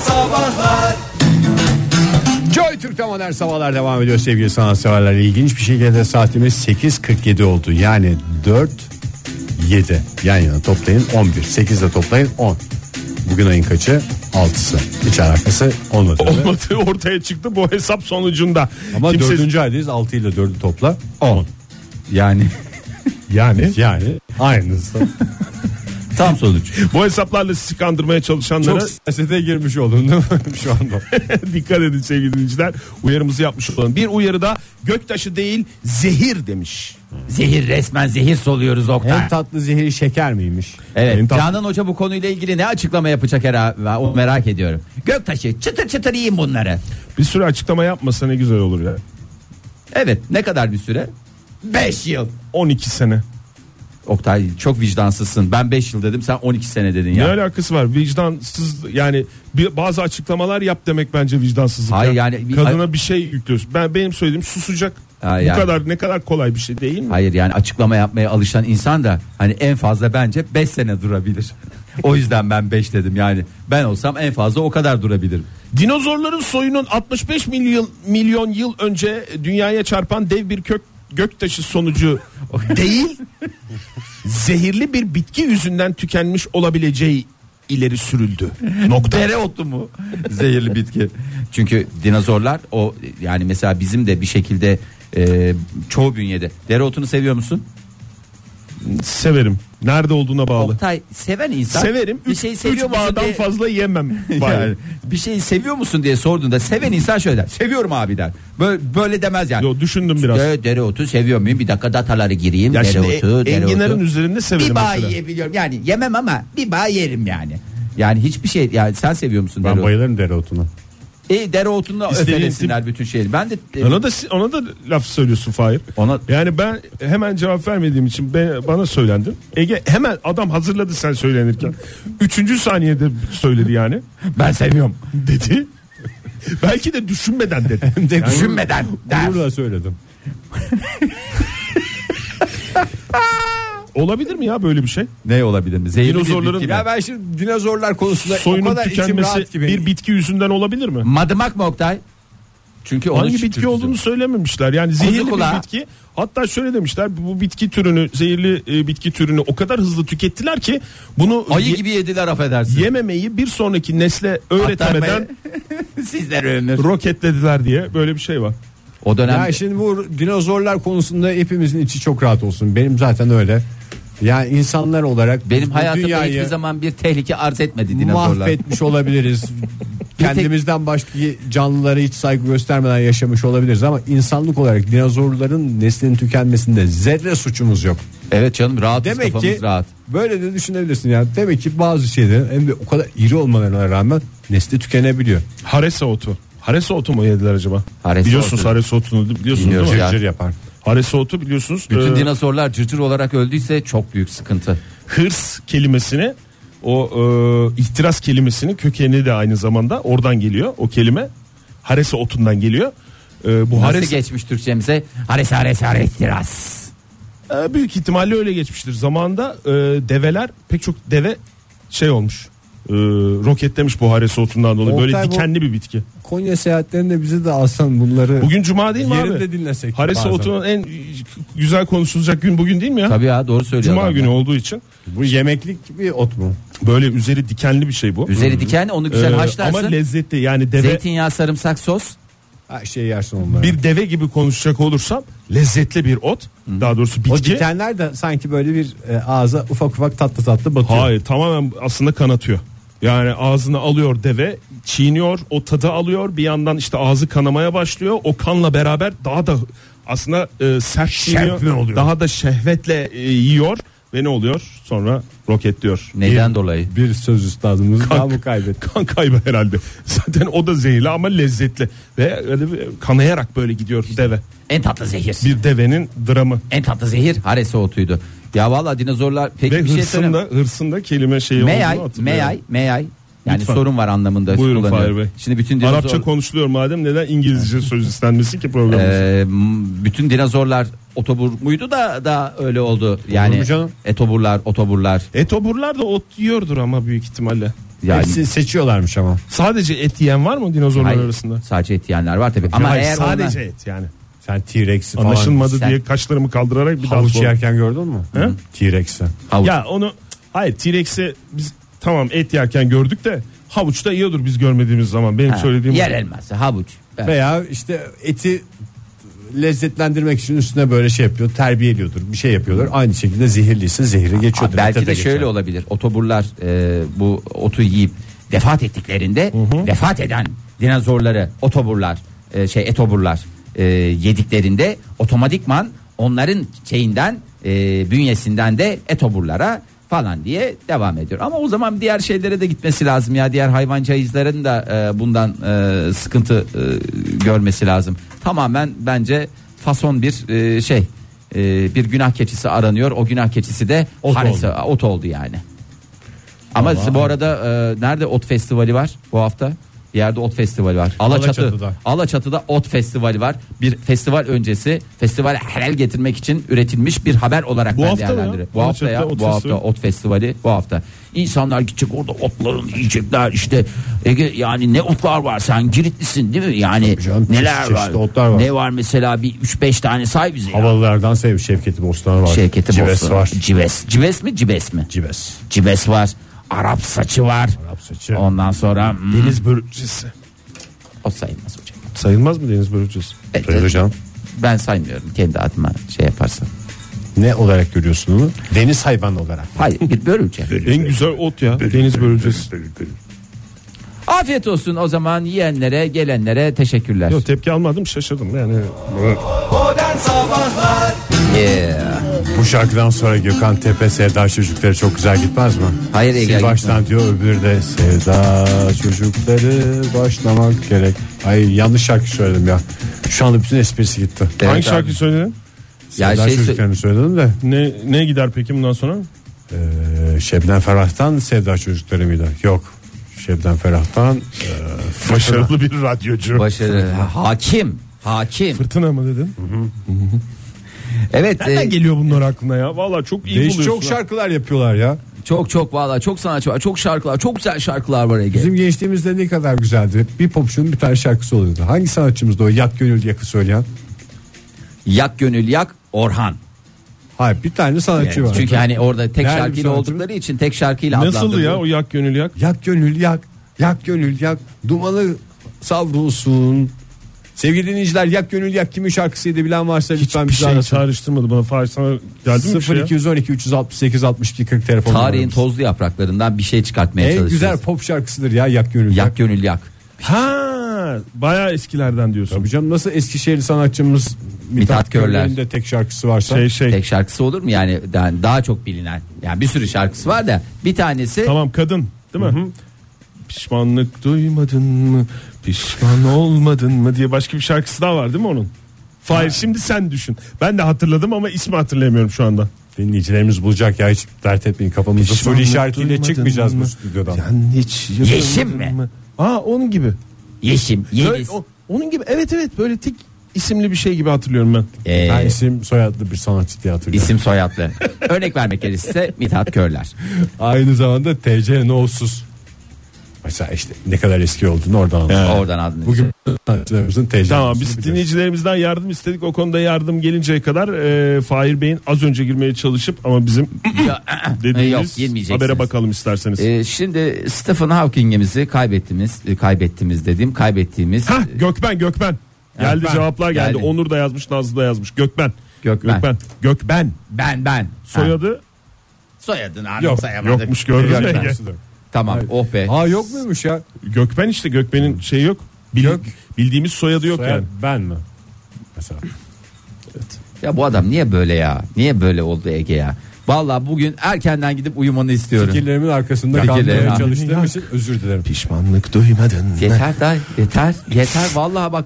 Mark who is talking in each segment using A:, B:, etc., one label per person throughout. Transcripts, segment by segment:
A: Sabahlar
B: Joy Türk'te modern sabahlar devam ediyor sevgili sanatseverler. İlginç bir şekilde saatimiz 8.47 oldu. Yani 4 7 yan yana toplayın 11. 8 de toplayın 10. Bugün ayın kaçı? 6'sı. Hiç alakası olmadı. değil mi?
C: Olmadı ortaya çıktı bu hesap sonucunda.
B: Ama
C: Kimse-
B: 4. aydayız 6 ile 4'ü topla 10.
D: Yani
C: yani
B: Yani aynısı.
D: tam sonuç.
C: bu hesaplarla sizi kandırmaya çalışanlara
B: Çok siyasete girmiş oldun değil mi şu anda?
C: dikkat edin sevgili dinleyiciler. Uyarımızı yapmış olalım. Bir uyarıda göktaşı değil zehir demiş.
D: Zehir resmen zehir soluyoruz Oktay.
B: en tatlı zehri şeker miymiş?
D: Evet
C: En tat-
D: Canan Hoca bu konuyla ilgili ne açıklama yapacak herhalde onu merak ediyorum. Göktaşı çıtır çıtır yiyin bunları.
C: Bir sürü açıklama yapmasa ne güzel olur ya.
D: Evet ne kadar bir süre? 5 yıl.
C: 12 sene.
D: Oktay çok vicdansızsın. Ben 5 yıl dedim sen 12 sene dedin
C: Ne
D: ya.
C: alakası var? Vicdansız yani bir, bazı açıklamalar yap demek bence vicdansızlık.
D: Hayır
C: ya.
D: yani bir-
C: kadına bir şey yüklüyorsun. Ben benim söylediğim susacak.
D: Hayır
C: Bu
D: yani.
C: kadar ne kadar kolay bir şey değil mi?
D: Hayır yani açıklama yapmaya alışan insan da hani en fazla bence 5 sene durabilir. o yüzden ben 5 dedim yani. Ben olsam en fazla o kadar durabilirim.
C: Dinozorların soyunun 65 milyon milyon yıl önce dünyaya çarpan dev bir kök göktaşı sonucu değil zehirli bir bitki yüzünden tükenmiş olabileceği ileri sürüldü. Nokta.
D: Dereotlu mu? Zehirli bitki. Çünkü dinozorlar o yani mesela bizim de bir şekilde e, çoğu bünyede. Dereotunu seviyor musun?
C: Severim. Nerede olduğuna bağlı.
D: Oktay seven insan.
C: Severim.
D: Bir
C: Üç-
D: şey
C: üç
D: seviyor musun
C: bağdan
D: diye,
C: fazla yemem.
D: yani, bir şeyi seviyor musun diye sorduğunda seven insan şöyle der. Seviyorum abi der. Böyle, böyle demez yani.
C: Yo, düşündüm biraz.
D: De- dereotu seviyor muyum? Bir dakika dataları gireyim.
C: Ya şimdi
D: dereotu,
C: e- enginarın
D: dereotu.
C: üzerinde severim
D: Bir bağ
C: mesela.
D: yiyebiliyorum. Yani yemem ama bir bağ yerim yani. Yani hiçbir şey yani sen seviyor musun
B: Ben
D: dereotu?
B: bayılırım dereotuna.
D: E dereotunu
C: İstediğin
D: öfelesinler bütün şeyi. Ben de e,
C: Ona da si- ona da laf söylüyorsun Fahir.
D: Ona-
C: Yani ben hemen cevap vermediğim için ben, bana söylendin. Ege hemen adam hazırladı sen söylenirken. Üçüncü saniyede söyledi yani.
D: ben seviyorum.
C: Dedi. Belki de düşünmeden dedi.
D: Yani Düşünmeden der.
B: Gururla söyledim.
C: Olabilir mi ya böyle bir şey?
D: Ne olabilir mi? Zehirli bir
C: Dinozorların-
D: bitki.
B: Ya ben şimdi dinozorlar konusunda o
C: Soyunun
B: kadar içim
C: tükenmesi
B: rahat ki benim.
C: bir bitki yüzünden olabilir mi?
D: Madımak mı Oktay? Çünkü onun
C: Hangi
D: için
C: bitki
D: Türkçesi.
C: olduğunu söylememişler. Yani zehirli
D: kulağı.
C: bir bitki. Hatta şöyle demişler bu bitki türünü zehirli e, bitki türünü o kadar hızlı tükettiler ki bunu ye-
D: Ayı gibi yediler affedersin.
C: yememeyi bir sonraki nesle öğretemeden
D: Sizler ömür.
C: roketlediler diye böyle bir şey var.
D: O dönem
B: Ya şimdi bu dinozorlar konusunda hepimizin içi çok rahat olsun. Benim zaten öyle. Yani insanlar olarak
D: benim
B: bu
D: hayatımda
B: dünyayı
D: hiçbir zaman bir tehlike arz etmedi dinozorlar.
B: mahvetmiş olabiliriz. Kendimizden başka canlılara hiç saygı göstermeden yaşamış olabiliriz ama insanlık olarak dinozorların neslinin tükenmesinde zerre suçumuz yok.
D: Evet canım rahat
B: Demek
D: kafamız
B: ki
D: rahat.
B: böyle de düşünebilirsin yani. Demek ki bazı şeylerin hem de o kadar iri olmalarına rağmen nesli tükenebiliyor.
C: Haresa otu. Haresa otu mu yediler acaba?
D: Haresa
C: biliyorsunuz
D: otu.
C: haresa otunu biliyorsunuz
D: Biliyoruz
C: değil mi?
D: ya.
B: Cır yapar.
C: Haresa otu biliyorsunuz.
D: Bütün
C: e,
D: dinozorlar cırcır olarak öldüyse çok büyük sıkıntı.
C: hırs kelimesini o e, ihtiras kelimesinin kökeni de aynı zamanda oradan geliyor o kelime. Haresa otundan geliyor. E, bu
D: Nasıl
C: hares
D: geçmiş Türkçemize? Hares hares hares tiras.
C: e, büyük ihtimalle öyle geçmiştir. Zamanında e, develer pek çok deve şey olmuş. E, roketlemiş bu haresa otundan dolayı.
B: Oktay
C: Böyle
B: bu-
C: dikenli bir bitki.
B: Konya seyahatlerinde bize de alsan bunları
C: Bugün cuma değil mi
B: yerinde
C: abi?
B: dinlesek.
C: Haresa
B: bazen.
C: otunun en güzel konuşulacak gün bugün değil mi ya?
D: Tabii ya doğru söylüyor.
C: Cuma
D: adam.
C: günü olduğu için
B: Bu yemeklik bir ot mu?
C: böyle üzeri dikenli bir şey bu.
D: Üzeri diken onu
C: Ee,
D: güzel
C: ama
D: haşlarsın.
C: lezzetli yani deve
D: Zeytinyağı sarımsak sos.
B: Ha, şey yersin onları.
C: bir deve gibi konuşacak olursam lezzetli bir ot daha doğrusu
B: Hmm. o
C: bitki.
B: dikenler de sanki böyle bir e, ağza ufak ufak tatlı tatlı batıyor.
C: Hayır tamamen aslında kanatıyor. Yani ağzını alıyor deve çiğniyor o tadı alıyor bir yandan işte ağzı kanamaya başlıyor o kanla beraber daha da aslında e, sert çiğniyor
B: Şerpme oluyor.
C: daha da şehvetle e, yiyor ve ne oluyor sonra roketliyor.
D: Neden dolayı?
B: Bir söz üstadımızı daha
C: Kank-
B: mı kaybettik?
C: Kan kaybı herhalde. Zaten o da zehirli ama lezzetli. Ve öyle bir kanayarak böyle gidiyor deve.
D: En tatlı zehir.
C: Bir devenin dramı.
D: En tatlı zehir harese otuydu. Ya valla dinozorlar pek
C: Ve
D: bir şey
C: hırsında,
D: söylemiyor.
C: hırsında kelime şeyi
D: Meyay,
C: olduğunu hatırlıyorum.
D: meyay, meyay. Yani
C: Lütfen.
D: sorun var anlamında
C: Buyurun
D: kullanıyorum.
C: Fahir Bey.
D: Şimdi bütün dinozor,
C: Arapça konuşuluyor madem neden İngilizce söz istenmesi ki programımız.
D: Ee, m- bütün dinozorlar otobur muydu da da öyle oldu. Yani
B: mu canım?
D: etoburlar, otoburlar.
C: Etoburlar da ot yiyordur ama büyük ihtimalle.
D: Yani
B: Hepsini e, seçiyorlarmış ama.
C: Sadece et yiyen var mı dinozorlar
D: hayır,
C: arasında?
D: sadece et yiyenler var tabii. Ama
C: Hayır,
D: eğer
C: sadece
D: onlar-
C: et yani.
B: Sen T-Rex'i falan.
C: Anlaşılmadı
D: Sen-
C: diye kaşlarımı kaldırarak bir daha
B: Havuç
C: sor.
B: yerken gördün mü?
C: Hı?
B: T-Rex'i.
D: Havuç.
C: Ya onu hayır T-Rex'i biz tamam et yerken gördük de havuç da yiyordur biz görmediğimiz zaman. Benim
D: Ha,
C: söylediğim
D: yer elması, havuç. Evet.
B: Veya işte eti lezzetlendirmek için üstüne böyle şey yapıyor. Terbiyeliyordur. Bir şey yapıyorlar. Aynı şekilde zehirliyse zehri geçiyordur.
D: Belki
B: ete
D: de şöyle
B: geçer.
D: olabilir. Otoburlar e, bu otu yiyip vefat ettiklerinde vefat eden dinozorları otoburlar e, şey etoburlar e, yediklerinde otomatikman onların şeyinden e, bünyesinden de etoburlara falan diye devam ediyor. Ama o zaman diğer şeylere de gitmesi lazım ya. Diğer hayvancayızların da e, bundan e, sıkıntı e, görmesi lazım. Tamamen bence fason bir e, şey e, bir günah keçisi aranıyor. O günah keçisi de
B: Ot
D: Haris- Ee, ot oldu yani. Ama bu arada e, nerede ot festivali var bu hafta? Bir yerde ot festivali var. Alaçatı,
B: Alaçatı'da.
D: Alaçatı'da. ot festivali var. Bir festival öncesi festivale helal getirmek için üretilmiş bir haber olarak
C: Bu
D: ben
C: hafta mı ya?
D: değerlendiriyorum. Bu hafta ya,
C: Alaçatı'da ot
D: bu hafta
C: festivali.
D: ot festivali bu hafta. İnsanlar gidecek orada otlarını yiyecekler işte. Ege yani ne otlar var sen Giritlisin değil mi? Yani
B: canım,
D: neler
B: çeşit
D: var?
B: çeşit otlar var.
D: Ne var mesela bir 3-5 tane say bize ya.
B: Havalılardan sev Şevketi Bostanı var.
D: Şevketi
B: Cives
D: Bostan.
B: var.
D: Cives. Cives mi Cibes mi?
B: Cives.
D: Cibes var. Arap saçı var.
B: Arap saçı.
D: Ondan sonra hmm,
C: Deniz börülcesi.
D: o sayılmaz hocam.
C: Sayılmaz mı deniz börülcesi?
D: Evet,
B: Sayılır canım.
D: Ben saymıyorum kendi adıma şey yaparsan.
B: Ne olarak görüyorsun onu? Deniz hayvanı olarak.
D: Hayır bir börülce.
C: En güzel ot ya deniz börülcesi.
D: Afiyet olsun o zaman yiyenlere gelenlere teşekkürler.
C: Yok tepki almadım şaşırdım yani.
D: Yeah.
B: Bu şarkıdan sonra Gökhan Tepe Sevda Çocukları çok güzel gitmez mi?
D: Hayır,
B: Sil
D: Ege,
B: baştan diyor öbürü de Sevda Çocukları başlamak gerek. Ay yanlış şarkı söyledim ya. Şu anda bütün esprisi gitti.
D: Evet
C: Hangi
D: abi.
C: şarkıyı söyledin?
D: Ya
B: Sevda
D: şey sö-
B: Çocukları'nı söyledim de
C: Ne, ne gider peki bundan sonra?
B: e, Şebnem Ferah'tan Sevda Çocukları mıydı? Yok. Şebnem Ferah'tan e,
C: Başarılı bir radyocu.
D: Başarı. Hakim. Hakim.
C: Fırtına mı dedin?
D: Evet.
C: Ne
D: e,
C: geliyor bunlar aklına ya? Valla çok iyi
B: değişik
C: buluyorsun.
B: çok şarkılar yapıyorlar ya.
D: çok çok valla çok sanatçı var. Çok şarkılar. Çok güzel şarkılar var Ege.
B: Bizim gençliğimizde ne kadar güzeldi. Bir popçunun bir tane şarkısı oluyordu. Hangi sanatçımızdı o yak gönül yakı söyleyen?
D: Yak gönül yak Orhan.
B: Hayır bir tane sanatçı var.
D: Çünkü hani orada tek
B: Nerede
D: şarkıyla
B: sanatçı?
D: oldukları için tek şarkıyla
C: Nasıl
D: adlandırılıyor.
C: ya o yak gönül yak?
B: Yak gönül yak, yak gönül yak, dumanı savrulsun. Sevgili dinleyiciler yak gönül yak kimin şarkısıydı bilen varsa lütfen
C: Bir
B: bizi
C: şey
B: arasın.
C: çağrıştırmadı bana. Fahir sana geldi mi bir şey?
B: 0212 368 62 40 telefon
D: Tarihin
B: numaramız.
D: tozlu yapraklarından bir şey çıkartmaya
B: En
D: çalışıyoruz.
B: güzel pop şarkısıdır ya yak gönül yak.
D: Yak gönül yak.
C: Ha, bayağı eskilerden diyorsun.
B: Tabii canım nasıl Eskişehirli sanatçımız
D: Mithat Körler.
B: Körler'in de tek şarkısı varsa.
C: Şey şey.
D: Tek şarkısı olur mu yani yani daha çok bilinen. Yani bir sürü şarkısı var da bir tanesi
C: Tamam kadın değil mi? Pişmanlık duymadın mı? Pişman olmadın mı diye başka bir şarkısı daha var değil mi onun? Fahir şimdi sen düşün. Ben de hatırladım ama ismi hatırlayamıyorum şu anda.
B: Dinleyicilerimiz bulacak ya hiç dert etmeyin kafamızda soru
C: Pişmanlık
B: işaretiyle
C: duymadın
B: çıkmayacağız bu
C: mı?
B: stüdyodan.
C: Yani hiç
D: Yeşim
C: yakaladın
D: mi?
C: Aa onun gibi.
D: Yeşim,
C: Böyle,
D: Yeliz.
C: o- onun gibi evet evet böyle tik isimli bir şey gibi hatırlıyorum ben.
D: Ee,
B: ben isim soyadlı bir sanatçı diye hatırlıyorum.
D: isim soyadlı. Örnek vermek gerekirse Mithat Körler.
B: Aynı zamanda TC No'suz. Mesela işte ne kadar eski olduğunu oradan anladım.
D: Oradan adını.
B: Bugün sanatçılarımızın TC
C: Tamam
B: No'sunu
C: biz
B: biliyoruz.
C: dinleyicilerimizden yardım istedik. O konuda yardım gelinceye kadar e, Fahir Bey'in az önce girmeye çalışıp ama bizim dediğimiz
D: girmeyeceksiniz.
C: habere bakalım isterseniz.
D: Ee, şimdi Stephen Hawking'imizi kaybettiğimiz, e, kaybettiğimiz dediğim, kaybettiğimiz
C: Ha Gökben Gökben. Geldi
D: Gökben.
C: cevaplar geldi.
D: Geldi.
C: Onur da yazmış, Nazlı da yazmış. Gökben.
D: Gökben.
C: Gökben. Gökben.
D: ben ben. Ha,
C: Soyadı
D: soyadını
B: Yok,
D: anımsayamadık.
C: yokmuş, gördün mü?
D: Gökben.
C: Ege.
D: Tamam, oh be.
B: Aa yok muymuş ya?
C: Gökben işte Gökben'in şeyi yok. Bil-
B: Gök.
C: Bildiğimiz soyadı yok
B: Soyad
C: yani.
B: ben mi? Mesela.
D: Ya bu adam niye böyle ya? Niye böyle oldu Ege ya? Vallahi bugün erkenden gidip uyumanı istiyorum.
B: Fikirlerimin arkasında
D: Fikirlerim.
B: kaldırmaya
D: Ah.
B: çalıştığım için özür dilerim.
C: Pişmanlık duymadın. mı?
D: Yeter da yeter yeter vallahi bak.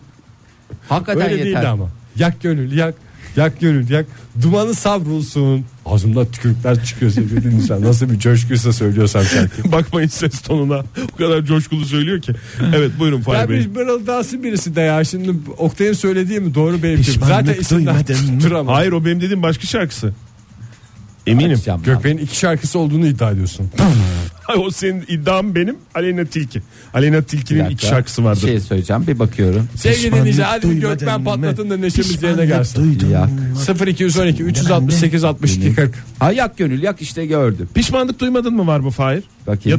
D: Hakikaten
B: Öyle
D: yeter.
B: değildi ama. Yak gönül yak. Yak gönül yak. Dumanı savrulsun. Ağzımda tükürükler çıkıyor sevgili dinleyiciler. Nasıl bir coşkuysa söylüyorsam şarkı.
C: Bakmayın ses tonuna. O kadar coşkulu söylüyor ki. Evet buyurun Fahir
B: Ya
C: Bey.
B: bir mırıldansın birisi de ya. Şimdi Oktay'ın söylediği mi doğru benim
C: Pişmanlık
B: Zaten isimden
C: duymadın mı?
B: tutturamam.
C: Hayır o benim dediğim başka şarkısı. Eminim.
D: Yapacağım ben.
B: Gökben'in iki şarkısı olduğunu iddia ediyorsun.
C: Ay o senin iddian benim. Aleyna Tilki. Aleyna
D: Bir
C: Tilki'nin iki
D: dakika.
C: şarkısı vardı.
D: Bir şey söyleyeceğim bir bakıyorum.
A: Sevgili dinleyiciler hadi bir
C: duymadın
A: Gökmen
C: mı?
A: patlatın da neşemiz yerine
C: Pişmanlık
A: gelsin.
C: duydum.
D: Yak.
A: 0212 368 62 40.
D: Ha yak gönül yak işte gördüm.
C: Pişmanlık duymadın mı var mı Fahir?
D: Bakayım.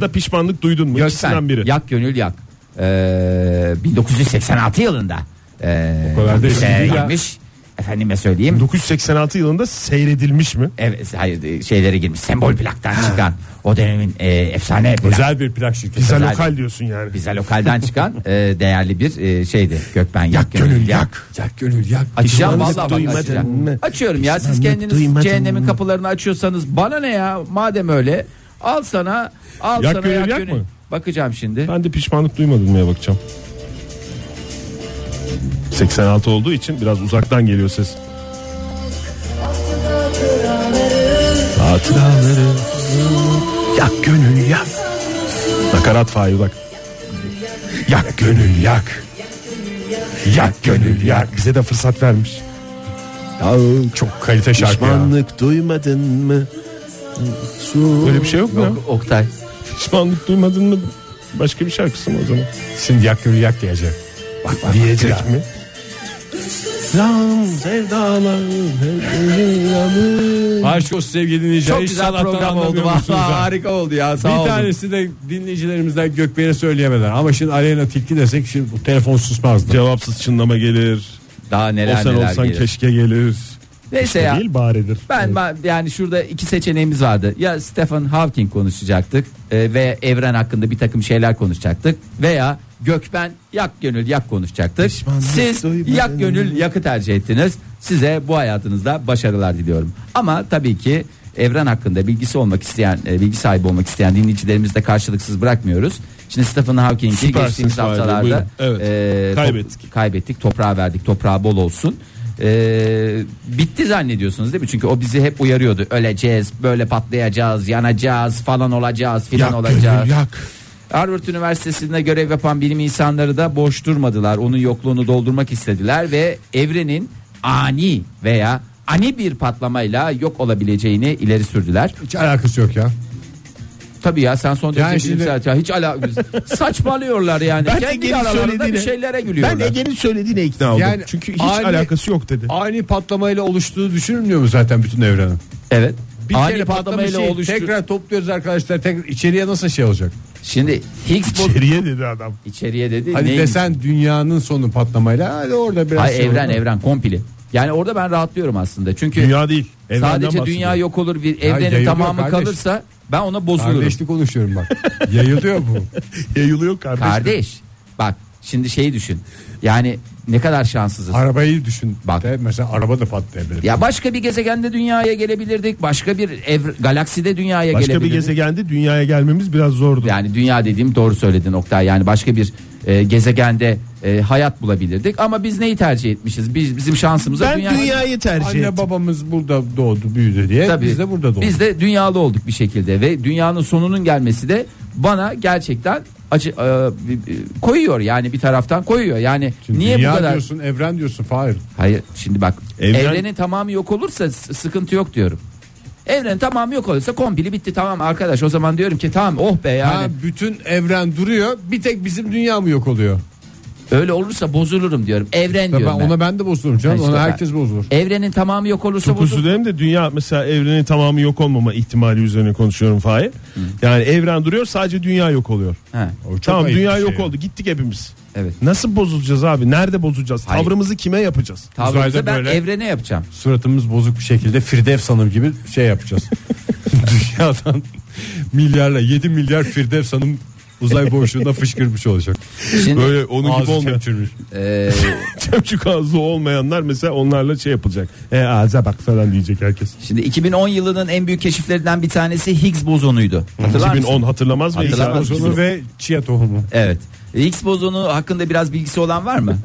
C: Ya da pişmanlık duydun mu?
D: Gökmen,
C: İkisinden biri.
D: Yak gönül yak. Ee, 1986 yılında. Ee,
B: O kadar da eski değil ya.
D: girmiş. Efendime söyleyeyim.
C: 986 yılında seyredilmiş mi?
D: Evet, hayır şeylere girmiş. Sembol plaktan çıkan o dönemin e, efsane plak.
B: Özel bir plak şirketi.
C: Bize
D: Özel-
C: lokal diyorsun yani.
D: Bize lokalden çıkan e, değerli bir e, şeydi Gökmen yak,
C: gönül, yak.
B: Yak gönül yak.
D: Açacağım
C: Pişmanlık
D: vallahi bak
C: duymadın mı?
D: açacağım. Açıyorum ya siz
C: Pişmanlık duymadın
D: kendiniz cehennemin
C: mı?
D: kapılarını açıyorsanız bana ne ya madem öyle al sana al
C: Yak
D: sana
C: gönül,
D: yak
C: yak
D: gönül.
C: mı?
D: Bakacağım şimdi.
C: Ben de pişmanlık duymadım ya bakacağım. 86 olduğu için biraz uzaktan geliyor ses. Hatıraları yak gönül yak. Nakarat fail bak. Yak gönül yak. Yak gönül yak. Bize de fırsat vermiş.
B: Çok kalite şarkı ya.
C: Pişmanlık duymadın mı? Böyle bir şey yok mu? ya?
D: Yok Oktay.
C: Pişmanlık duymadın mı? Başka bir şarkısı mı o zaman?
B: Şimdi yak gönül yak diyecek.
C: Diyecek mi? Ram sevdalarım
A: Ay şu sevgili dinleyiciler.
D: Çok
A: hiç
D: güzel
A: sanattan
D: program oldu.
A: anlamıyor
D: Vallahi
A: musunuz ha?
D: harika oldu ya. Sağ
B: Bir
D: olun.
B: tanesi de dinleyicilerimizden Gökmen'e söyleyemediler. Ama şimdi Aleyna Tilki desek şimdi bu telefon susmazdı.
C: Cevapsız çınlama gelir.
D: Daha
C: O
D: neler
C: sen
D: neler
C: olsan
D: gelir.
C: keşke gelir.
D: Neyse ya.
C: Değil baredir.
D: Ben, ben yani şurada iki seçeneğimiz vardı. Ya Stephen Hawking konuşacaktık e, ve evren hakkında bir takım şeyler konuşacaktık veya Gökben yak gönül yak konuşacaktık.
C: Pişmanlık
D: Siz
C: duymadın
D: yak gönül yakı tercih ettiniz. Size bu hayatınızda başarılar diliyorum. Ama tabii ki evren hakkında bilgisi olmak isteyen, e, bilgi sahibi olmak isteyen dinleyicilerimizi de karşılıksız bırakmıyoruz. Şimdi Stephen Hawking'i
C: Süpersiniz
D: geçtiğimiz
C: Fahri,
D: haftalarda
C: buyurun. Evet.
D: e, top-
C: Kaybettik.
D: kaybettik. Toprağa verdik. Toprağa bol olsun. Ee, bitti zannediyorsunuz değil mi? Çünkü o bizi hep uyarıyordu. Öleceğiz, böyle patlayacağız, yanacağız, falan olacağız, filan olacağız.
C: yak.
D: Harvard Üniversitesi'nde görev yapan bilim insanları da boş durmadılar. Onun yokluğunu doldurmak istediler ve evrenin ani veya ani bir patlamayla yok olabileceğini ileri sürdüler.
B: Hiç alakası yok ya.
D: Tabii ya sen son derece
B: Yani şimdi-
D: bilimsel- ya hiç ala saçmalıyorlar yani.
C: Ben de
D: Kendi
C: geri
D: aralarında bir
C: söylediğini-
D: şeylere
C: Ben
D: gülüyorlar.
C: Ege'nin söylediğine ikna oldum.
B: Yani
C: Çünkü hiç
B: aynı-
C: alakası yok dedi.
B: Ani patlamayla oluştuğu düşünülmüyor mu zaten bütün evrenin?
D: evet.
B: Bir
D: ani
B: kere patlamayla
D: patlamayla
B: şey,
D: oluştu.
B: Tekrar topluyoruz arkadaşlar. Tekrar içeriye nasıl şey olacak?
D: Şimdi Higgs bo-
C: İçeriye dedi adam.
D: içeriye dedi.
B: Hani
D: neymiş?
B: desen dünyanın sonu patlamayla hadi orada biraz
D: Hayır,
B: şey
D: evren
B: olur.
D: evren kompili. Yani orada ben rahatlıyorum aslında. Çünkü
C: Dünya değil. evrenden
D: sadece
C: bahsediyor.
D: dünya yok olur bir evrenin
B: yayılıyor
D: tamamı
B: kardeş.
D: kalırsa ben ona bozulurum. Kardeş.
B: Kardeşli konuşuyorum bak. Yayılıyor bu.
C: Yayılıyor kardeşim.
D: Bak şimdi şeyi düşün. Yani ne kadar şanssızız.
B: Arabayı düşün.
D: Bak.
B: Bak. mesela araba da patlayabilir.
D: ya başka bir gezegende dünyaya gelebilirdik. Başka bir evr- galakside dünyaya
C: Başka bir
D: gelebilirdik.
C: gezegende dünyaya gelmemiz biraz zordu.
D: Yani dünya dediğim doğru söyledin Oktay. Yani başka bir e, gezegende e, hayat bulabilirdik. Ama biz neyi tercih etmişiz? Biz, bizim şansımıza
C: ben
D: dünya-
C: dünyayı tercih
B: Anne
C: ettim.
B: babamız burada doğdu büyüdü diye
D: şey- Tabii.
B: biz de burada doğduk.
D: Biz de dünyalı olduk bir şekilde ve dünyanın sonunun gelmesi de bana gerçekten acı e, e, koyuyor yani bir taraftan koyuyor. Yani
B: Şimdi
D: niye
B: dünya
D: bu kadar?
B: diyorsun evren diyorsun Fahir.
D: Hayır şimdi bak
C: Evren-
D: evrenin tamamı yok olursa s- sıkıntı yok diyorum. Evrenin tamamı yok olursa kompili bitti tamam arkadaş o zaman diyorum ki tamam oh be yani
B: Ha, bütün evren duruyor bir tek bizim dünya mı yok oluyor?
D: öyle olursa bozulurum diyorum. Evren
B: Ya Ben,
D: diyorum ben.
B: ona ben de bozulurum canım
D: Ha işte
B: ona
D: ben-
B: herkes bozulur.
D: Evrenin tamamı yok olursa
C: Çok özür
D: bozulurum.
C: dilerim de dünya mesela evrenin tamamı yok olmama ihtimali üzerine konuşuyorum Fahir. Yani evren duruyor sadece dünya yok oluyor.
D: Ha,
B: O çok
C: tamam
B: ayıp bir
C: dünya
B: şey
C: yok
B: ya.
C: oldu gittik hepimiz.
D: evet.
C: Nasıl bozulacağız abi? Nerede bozulacağız?
D: Hayır.
C: Tavrımızı kime yapacağız?
D: Tavrımızı ben
B: böyle-
D: evrene yapacağım.
B: Suratımız bozuk bir şekilde Firdevs Hanım gibi şey yapacağız. Dünyadan milyarla 7 milyar Firdevs Hanım uzay boşluğunda fışkırmış olacak.
D: Şimdi
C: Böyle onun gibi
B: Ağzı
C: olmayan.
B: çömçürmüş.
D: e,
C: Çöpçük ağzı olmayanlar mesela onlarla şey yapılacak. E ağza bak falan diyecek herkes.
D: Şimdi 2010 yılının en büyük keşiflerinden bir tanesi Higgs bozonuydu. Hatırlar
C: 2010
D: mısın?
C: hatırlamaz mı?
D: Hatırlamaz
C: İnsan
D: mısın?
C: bozulur
B: Ozonu
C: ve-
B: ve chia tohumu.
D: Evet. Higgs bozonu hakkında biraz bilgisi olan var mı?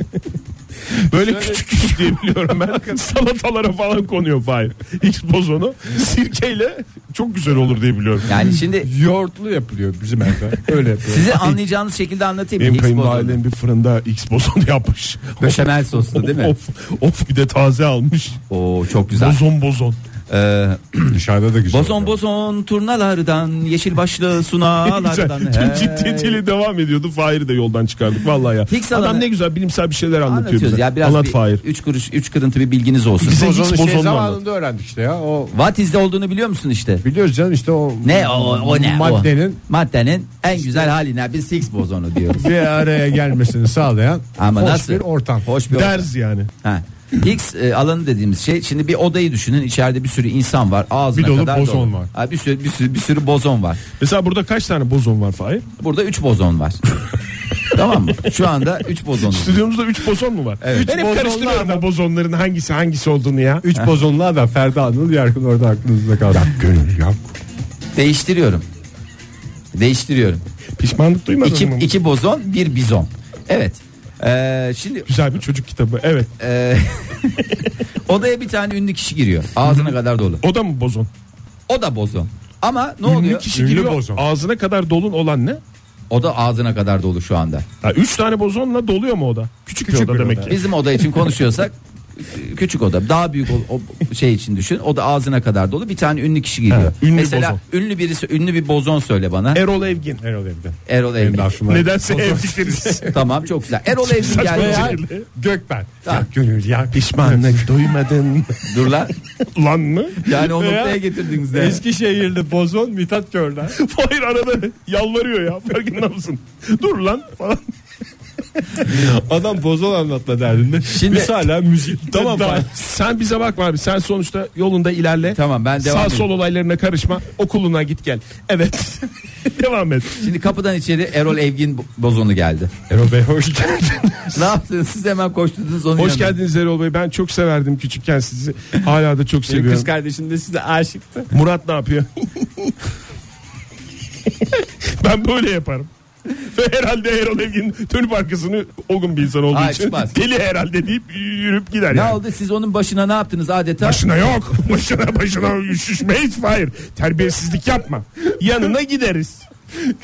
C: Böyle küçük küçük diye biliyorum ben. Salatalara falan konuyor Fahir. X bozonu sirkeyle çok güzel olur diye biliyorum.
D: Yani şimdi
B: Yoğurtlu yapılıyor bizim evde. Öyle yapıyor.
D: size anlayacağınız şekilde anlatayım.
C: Benim
D: Higgs bozonu.
C: kayınvalidem bir fırında X bozonu yapmış.
D: Beşamel soslu değil mi?
C: Of, of bir de taze almış.
D: Oo çok güzel.
C: Bozon bozon.
D: Ee,
B: Dışarıda da güzel.
D: Bozon bozon turnalardan yeşil başlı sunalardan.
C: Tüm ciddiyetiyle devam ediyordu. Fahir'i de yoldan çıkardık vallahi ya.
D: Hicks
C: Adam
D: alanı-
C: ne güzel bilimsel bir şeyler anlatıyor
D: Anlatıyoruz
C: bize.
D: ya biraz
C: Anlat
D: bir,
C: Fahir.
D: üç kuruş üç kırıntı bir bilginiz olsun.
C: Bize hiç
B: Bozon'u şey
C: bozonunu
B: zamanında öğrendik işte ya. O
D: What is the olduğunu biliyor musun işte?
B: biliyoruz canım işte o
D: Ne o, o ne? O.
B: maddenin
D: maddenin en güzel haline biz Higgs bozonu diyoruz.
B: bir araya gelmesini sağlayan
D: Ama
B: hoş
D: nasıl?
B: bir ortam.
D: Hoş bir ortam.
C: Ders yani.
D: Ha. Higgs e, alanı dediğimiz şey şimdi bir odayı düşünün içeride bir sürü insan var ağzına
B: Bir dolu
D: kadar
B: bozon var.
D: Ha, bir sürü bir sürü bir sürü bozon var.
C: Mesela burada kaç tane bozon var Fahir?
D: Burada 3 bozon var. tamam mı? Şu anda 3 bozon.
C: Stüdyomuzda 3 bozon mu var? Evet. Ben hep
B: bozonlar
C: karıştırıyorum o bozonların hangisi hangisi olduğunu ya.
B: Üç bozonlu da Ferdi Anıl Yarkın orada aklınızda kaldı. Ya gönül ya.
D: Değiştiriyorum. Değiştiriyorum.
C: Pişmanlık duymadın
D: İki,
C: mı?
D: iki bozon, bir bizon. Evet. Ee, şimdi
C: Güzel bir çocuk kitabı. Evet.
D: e, odaya bir tane ünlü kişi giriyor. Ağzına kadar dolu.
C: O da mı bozon?
D: O da bozon. Ama ne
C: Ünlü
D: oluyor?
C: kişi
B: Ünlü
C: giriyor.
B: bozon.
C: Ağzına kadar dolun olan ne?
D: O da ağzına kadar dolu şu anda.
C: Ha, üç tane bozonla doluyor mu o da? Küçük,
B: Küçük
C: bir oda
B: bir
C: demek
B: oda.
C: ki.
D: Bizim oda için konuşuyorsak e, küçük oda daha büyük o, o şey için düşün. O da ağzına kadar dolu bir tane ünlü kişi giriyor.
C: Evet, ünlü
D: Mesela
C: bozon.
D: ünlü birisi ünlü bir bozon söyle bana.
C: Erol Evgin.
B: Erol Evgen.
D: Erol
B: Benim
D: Evgin.
B: de aklıma.
C: Nedense evlilikleriniz.
D: Tamam çok güzel. Erol Evgin
C: Saçma
D: geldi.
C: fikirli.
B: Gökben.
D: Tamam.
B: Ya gönül ya.
C: Pişmanlık duymadın
D: Dur lan.
C: lan mı?
D: Yani o
B: Ya.
D: noktaya getirdiniz de.
B: Eskişehirli bozon Mithat Görden.
C: Hayır arada yalvarıyor ya farkında mısın? Dur lan falan.
B: Adam bozon anlatma derdinde.
D: Şimdi-
B: Biz hala müzik.
C: Tamam Fahir, sen bize bakma abi sen sonuçta yolunda ilerle.
D: Tamam, ben devam
C: Sağ
D: edeyim.
C: sol olaylarına karışma okuluna git gel. Evet devam et.
D: Şimdi kapıdan içeri Erol Evgin bo- bozonu geldi.
B: Erol Bey hoş geldin.
D: ne yaptınız siz hemen koşturdunuz onun
C: Hoş
D: yanına.
C: geldiniz Erol Bey ben çok severdim küçükken sizi hala da çok
A: Benim
C: seviyorum.
A: kız kardeşim de size aşıktı.
C: Murat ne yapıyor? ben böyle yaparım. Ve herhalde Erol Evgin dönüp arkasını o gün bir insan olduğu
D: Ay,
C: için
D: çıkmaz.
C: deli herhalde deyip yürüp gider.
D: Ne
C: yani.
D: oldu siz onun başına ne yaptınız adeta?
C: Başına yok. Başına başına şişmeyiz. Hayır. Terbiyesizlik yapma. Yanına gideriz.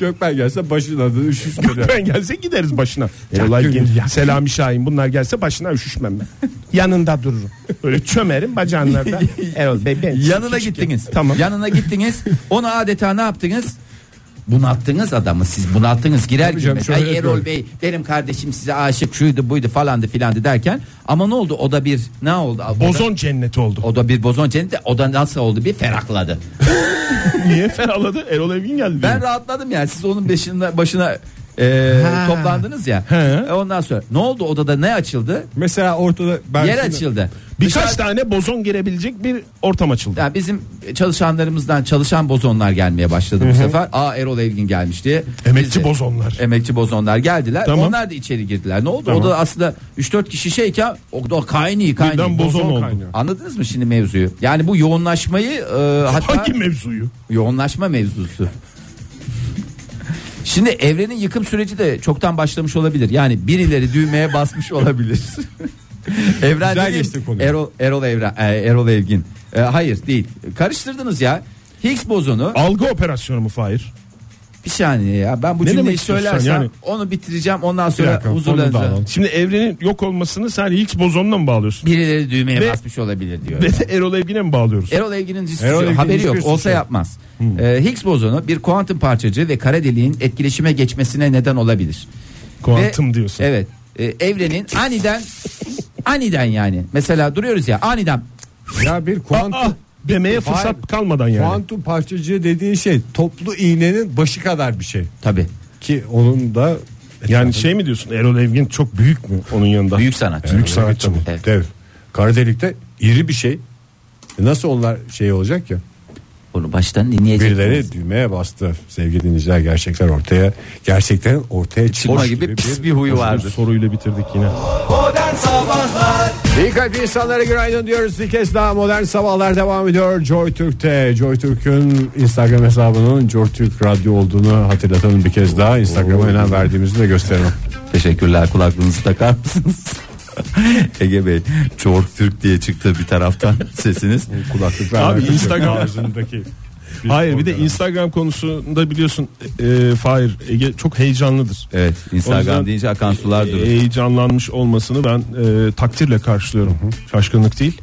B: Gökben gelse başın adı üşüş
C: Ben gelse gideriz başına. Olay
B: gönül
C: gel- Selami Şahin bunlar gelse başına üşüşmem ben. Yanında dururum. Böyle çömerim bacağınlarda. Erol Bey ben.
D: Yanına gittiniz.
C: Tamam.
D: Yanına gittiniz. Onu adeta ne yaptınız? Bunalttınız adamı siz bunalttınız girer
B: canım,
D: girmez.
B: şöyle
D: Ay Erol
B: yapıyorum.
D: Bey benim kardeşim size aşık şuydu buydu falandı filandı derken ama ne oldu o da bir ne oldu? O da-
C: Bozon cenneti oldu.
D: O da bir bozon cenneti o da nasıl oldu bir ferahladı.
C: Niye ferahladı? Erol Evgin geldi.
D: Ben rahatladım yani siz onun başına, başına e, toplandınız ya. E, Ondan sonra ne oldu odada ne açıldı?
B: Mesela ortada ben
D: Yer
B: şimdi-
D: açıldı.
C: Birkaç
D: Dışarı-
C: tane bozon girebilecek bir ortam açıldı.
D: yani bizim çalışanlarımızdan çalışan bozonlar gelmeye başladı bu sefer. Aa Erol Evgin gelmişti.
C: Emekçi
D: Biz de-
C: bozonlar.
D: Emekçi bozonlar geldiler.
C: Tamam.
D: Onlar da içeri girdiler. Ne oldu? O da aslında 3-4 kişi şeyken o da kaynıyor kaynıyor.
C: Birden bozon, oldu.
D: Anladınız mı şimdi mevzuyu? Yani bu yoğunlaşmayı e, hatta
C: Hangi mevzuyu?
D: yoğunlaşma mevzusu. Şimdi evrenin yıkım süreci de çoktan başlamış olabilir. Yani birileri düğmeye basmış olabilir. Evren
B: Güzel
D: dediğim
B: geçti konuyu.
D: Erol, Erol, Evren, e, Erol Evgin. E, hayır değil. Karıştırdınız ya. Higgs bozonu
C: Algı operasyonu mu Fahir?
D: bir saniye ya. Ben bu
C: Ne
D: cümleyi
C: demek istiyorsun sen?
D: söylersem
C: Yani-
D: onu bitireceğim. Ondan
B: Bir
D: sonra
B: dakika, onu da
D: huzurlanacağım.
B: alalım.
C: Şimdi evrenin yok olmasını sen Higgs bozonuna mı bağlıyorsun?
D: Birileri düğmeye
C: Ve-
D: basmış olabilir diyor.
C: Ve de Erol Evgin'e mi bağlıyoruz?
D: Erol Evgin'in hiç suçu
B: Erol
D: yok.
B: Evgin'in
D: haberi
B: hiçbir
D: yok.
B: suçu
D: Olsa
B: yok. Hmm.
D: yapmaz. E, Higgs bozonu bir kuantum parçacığı ve kara deliğin etkileşime geçmesine neden olabilir.
C: Kuantum
D: Ve-
C: diyorsun.
D: Evet. E, evrenin aniden aniden yani. Mesela duruyoruz ya aniden
B: Ya bir
C: Ah,
B: kuantum
C: demeye fırsat
B: Fahir,
C: kalmadan yani.
B: kuantum parçacığı dediğin şey toplu iğnenin başı kadar bir şey
D: tabi
B: ki onun da
C: Yani şey mi diyorsun Erol Evgin çok büyük mü onun yanında?
D: büyük sanatçı.
B: büyük sanatçı mı?
D: Evet.
B: Dev. Kara delikte iri bir şey. E Nasıl onlar şey olacak ya?
D: Onu baştan dinleyeceksiniz.
B: Birileri düğmeye bastı. Sevgili dinleyiciler gerçekler ortaya gerçekten ortaya çıkmış
D: Ona gibi pis bir huyu
B: bozulmuş
D: vardı.
C: Soruyla bitirdik yine.
B: İyi kalp insanlara günaydın diyoruz. Bir kez daha modern sabahlar devam ediyor. Joy Türk'te. Joy Türk'ün Instagram hesabının Joy Türk Radyo olduğunu hatırlatalım bir kez daha. Instagram'a önem verdiğimizi de gösterelim.
D: Teşekkürler kulaklığınızı takar mısınız? Ege Bey Çork Türk diye çıktı bir taraftan sesiniz.
B: Kulaklıklar
C: Abi,
B: verdim.
C: Instagram-
B: ağzındaki.
C: Hayır bir de Instagram konusunda biliyorsun e, e, Fahir Ege çok heyecanlıdır.
D: Evet
C: O yüzden- e,
D: Instagram deyince akan sular durur.
C: Heyecanlanmış olmasını ben e, takdirle karşılıyorum. Şaşkınlık değil.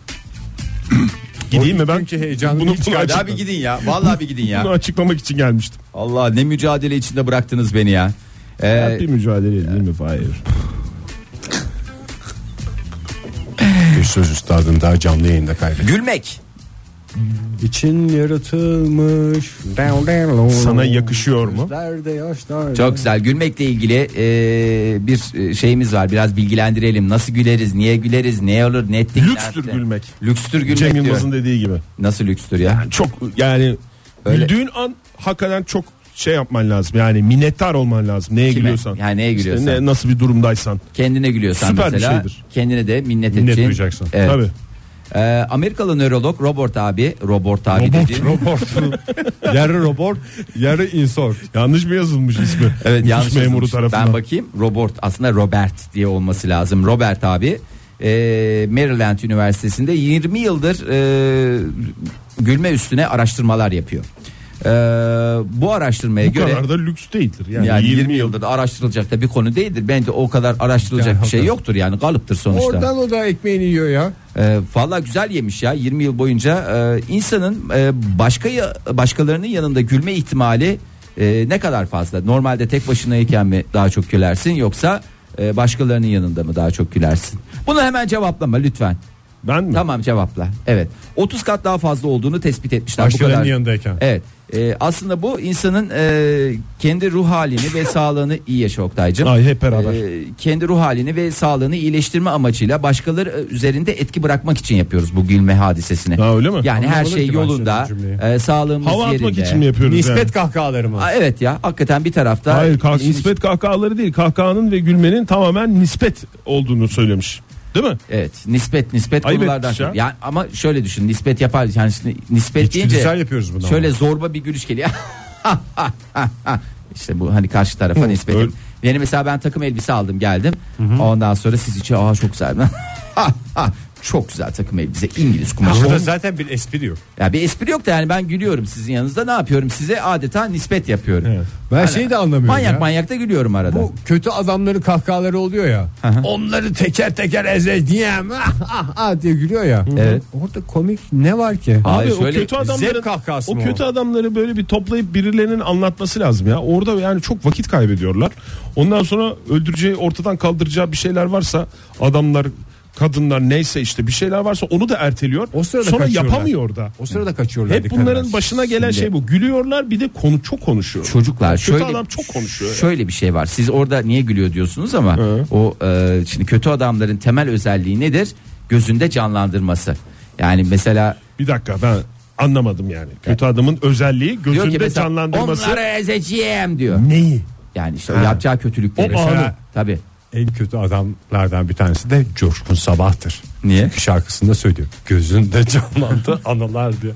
C: Gideyim mi ben?
B: Çünkü heyecanlı
C: Bunu,
B: hiç
C: bunu,
D: Hadi
C: açıkla-
D: abi gidin ya. Vallahi bir gidin
C: bunu
D: ya.
C: açıklamak için gelmiştim.
D: Allah ne mücadele içinde bıraktınız beni ya. Ee,
C: bir mücadele edeyim mi Fahir?
B: Bir söz üstadını daha canlı yayında kaybettim.
D: gülmek.
B: İçin yaratılmış.
C: Sana yakışıyor mu?
B: Nerede yaşlar?
D: Çok güzel. Gülmekle ilgili e, bir e, şeyimiz var. Biraz bilgilendirelim. Nasıl güleriz? Niye güleriz? Ne olur? Ne ettik? ne
C: Lükstür
D: ettik?
C: gülmek.
D: Lükstür gülmek
C: Cem
D: diyor.
C: Yılmaz'ın dediği gibi.
D: Nasıl lükstür ya?
C: Çok yani
D: Öyle.
C: güldüğün an hakikaten çok şey yapman lazım. Yani minnettar olman lazım. Neye
D: Kime?
C: gülüyorsan.
D: Yani neye
C: İşte
D: gülüyorsan.
C: ne- nasıl bir durumdaysan.
D: Kendine gülüyorsan
C: Süper bir
D: mesela.
C: şeydir.
D: Kendine de minnet
B: Minnet
D: edeceksin.
B: duyacaksın.
D: Evet.
C: Tabii.
D: Ee, Amerikalı nörolog Robert abi. Robert abi
B: Robot,
D: dedi.
B: robot. yarı robot, yarı insort.
C: Yanlış mı yazılmış ismi?
D: Evet
C: Nüfus
D: yanlış
C: memuru
D: yazılmış.
C: tarafından.
D: Ben bakayım. Robert aslında Robert diye olması lazım. Robert abi e, Maryland Üniversitesi'nde 20 yıldır e, gülme üstüne araştırmalar yapıyor. E, bu araştırmaya
C: Bu
D: göre
C: kadar da lüks değildir. Yani,
D: yani 20,
C: 20 yıl.
D: yıldır da araştırılacak da bir konu değildir. Bence o kadar araştırılacak
B: Yani
D: bir şey
B: hakikaten.
D: yoktur yani kalıptır sonuçta.
B: Oradan o da ekmeğini yiyor ya.
D: E, Valla güzel yemiş ya 20 yıl boyunca e, insanın e, başka ya- başkalarının yanında gülme ihtimali e, ne kadar fazla? Normalde tek başınayken mi daha çok gülersin yoksa e, başkalarının yanında mı daha çok gülersin? Bunu hemen cevaplama lütfen.
C: Ben mi?
D: Tamam cevapla. Evet. 30 kat daha fazla olduğunu tespit etmişler. Bu
B: Başkalarının
D: kadar-
B: yanındayken.
D: Evet. E, aslında bu insanın e, kendi ruh halini ve sağlığını iyi yaşa Oktay'cım.
C: Ay, hep beraber.
D: E, kendi ruh halini ve sağlığını iyileştirme amacıyla başkaları e, üzerinde etki bırakmak için yapıyoruz bu gülme hadisesini.
C: Ha, öyle mi?
D: Yani her
B: Anlamadım
D: şey
B: ki ben
D: yolunda,
B: şimdi cümleyi.
D: e, sağlığımız
C: Hava
D: yerinde.
C: atmak için mi yapıyoruz?
B: Nispet
C: yani?
B: kahkahaları mı?
D: Aa, evet ya hakikaten bir tarafta
C: Hayır kah-
D: işin-
C: nispet kahkahaları değil. Kahkahanın ve gülmenin tamamen nispet olduğunu söylemiş. Değil mi?
D: Evet nispet nispet
C: Ayıp
D: konulardan.
C: etmiş ya.
D: Yani ama şöyle düşün nispet yapar yani şimdi nispet deyince
B: İçgüdüsel yapıyoruz bunu.
D: şöyle zorba bir gülüş geliyor. işte bu hani karşı tarafa nispet.
C: öyle.
D: Yani mesela ben takım elbise aldım geldim. Ondan sonra siz içi aa çok güzel. Ha, ha, çok güzel takım elbise İngiliz
B: ama.
D: kumaşı.
B: Burada zaten bir espri yok.
D: Ya bir espri yok da yani ben gülüyorum sizin yanınızda ne yapıyorum size adeta nispet yapıyorum.
B: Ben şeyi de anlamıyorum
D: Manyak
B: ya.
D: manyak da gülüyorum arada.
B: Bu kötü adamların kahkahaları oluyor ya. Onları teker teker ezeceğim. Ah, ah, ah diye gülüyor ya.
D: Evet.
B: Orada komik ne var ki?
D: Hayır,
C: Abi o
D: şöyle
C: kötü adamların
B: zevk kahkahası
C: o
B: mı
C: kötü
B: o?
C: adamları böyle bir toplayıp birilerinin anlatması lazım ya. Orada yani çok vakit kaybediyorlar. Ondan sonra öldüreceği ortadan kaldıracağı bir şeyler varsa adamlar kadınlar neyse işte bir şeyler varsa onu da erteliyor.
B: O sırada
C: sonra
B: kaçıyorlar.
C: yapamıyor da.
B: O sırada kaçıyorlar.
C: Hep
B: dikkat
C: bunların
B: edersin.
C: başına gelen şey bu. Gülüyorlar bir de konu çok konuşuyor.
D: Çocuklar
C: Kötü
D: şöyle
C: adam çok konuşuyor. ya.
D: Şöyle bir şey var. Siz orada niye gülüyor diyorsunuz ama o e, şimdi kötü adamların temel özelliği nedir? Gözünde canlandırması. Yani mesela
C: Bir dakika ben anlamadım yani. Kötü adamın özelliği
D: diyor ki
C: gözünde
D: mesela
C: canlandırması.
D: onları ezeceğim diyor.
C: Neyi?
D: Yani işte o yapacağı kötülükleri.
B: O
D: Mesela-
B: anı.
D: Tabii.
B: En kötü adamlardan bir tanesi de Coşkun Sabah'tır.
D: Niye?
B: Şarkısında söylüyor. Gözünde canlandı anılar diye.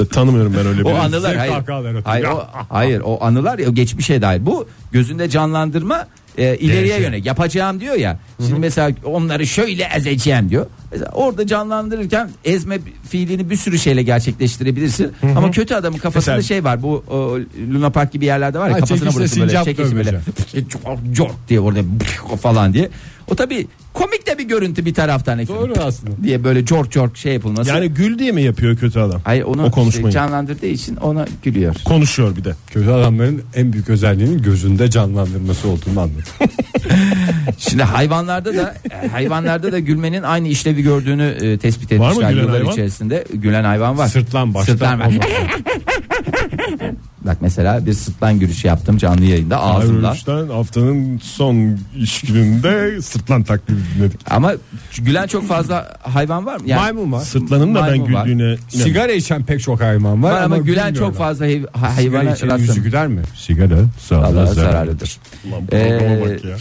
C: E, Tanımıyorum ben öyle bir.
D: O anılar
B: zevk
D: hayır.
B: kahkahaları atıyor.
D: Hayır, o, hayır o anılar ya geçmişe dair. Bu gözünde canlandırma e, ileriye
B: Geleceğe.
D: yönelik yapacağım diyor ya. Şimdi mesela onları şöyle ezeceğim diyor. Mesela orada canlandırırken ezme fiilini bir sürü şeyle gerçekleştirebilirsin. Ama kötü adamın kafasında
C: Mesela-
D: şey var. Bu o, Luna Park gibi yerlerde var ya
B: Ha,
D: kafasına
B: çekişle
D: burası böyle
B: sincap
D: çekişi böyle Jork diye orada falan diye. O tabii komik de bir görüntü bir taraftan.
B: Doğru aslında.
D: Diye böyle jork jork şey yapılması.
C: Yani gül diye mi yapıyor kötü adam?
D: Hayır onu
C: o
D: işte
C: konuşmayı.
D: canlandırdığı için ona gülüyor.
C: Konuşuyor bir de.
B: Kötü adamların en büyük özelliğinin gözünde canlandırması olduğunu anladım.
D: Şimdi hayvanlarda da hayvanlarda da gülmenin aynı işlevi gördüğünü e, tespit
C: mı
D: etmişler
C: gülen
D: yıllar
C: hayvan?
D: içerisinde. Gülen hayvan var.
B: Sırtlan baştan.
D: Sırtlan var.
B: olmaz.
D: Bak mesela bir sırtlan gülüşü yaptım canlı yayında ağzımla.
C: Ayrılıştan haftanın son iş gününde sırtlan taklidi dinledik.
D: Ama gülen çok fazla hayvan var mı?
B: Maymun var.
C: Sırtlanın da ben
D: Maymun var.
C: güldüğüne inanıyorum.
B: Sigara içen pek çok hayvan var,
D: Var ama gülen
B: bilmiyorlar.
D: çok fazla hay- ha-
B: Sigara
D: hayvana
B: içenin yüzü
D: rastlanıyor.
B: güler mi? Sigara
D: Vallahi
B: sağlığa
D: zararlıdır.
C: Ulan programa
D: Ee,
C: bak ya.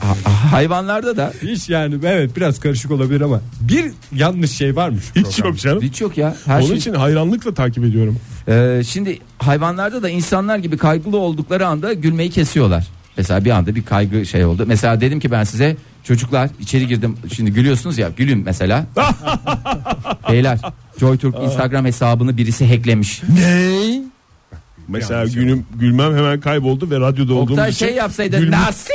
D: Ha- Hayvanlarda da
B: Hiç yani evet biraz karışık olabilir ama bir yanlış şey varmış.
C: Hiç yok canım.
D: hiç yok ya. Her
C: Onun
D: şey
C: için hayranlıkla takip ediyorum.
D: Ee, şimdi hayvanlarda da insanlar gibi kaygılı oldukları anda gülmeyi kesiyorlar. Mesela bir anda bir kaygı şey oldu. Mesela dedim ki ben size çocuklar içeri girdim. Şimdi gülüyorsunuz ya gülün mesela. Beyler JoyTürk Instagram hesabını birisi hacklemiş.
B: Ne?
C: Mesela günüm gülmem hemen kayboldu ve radyoda olduğum
D: Oktay
C: için
D: şey yapsaydı
C: gülme-
D: nasıl?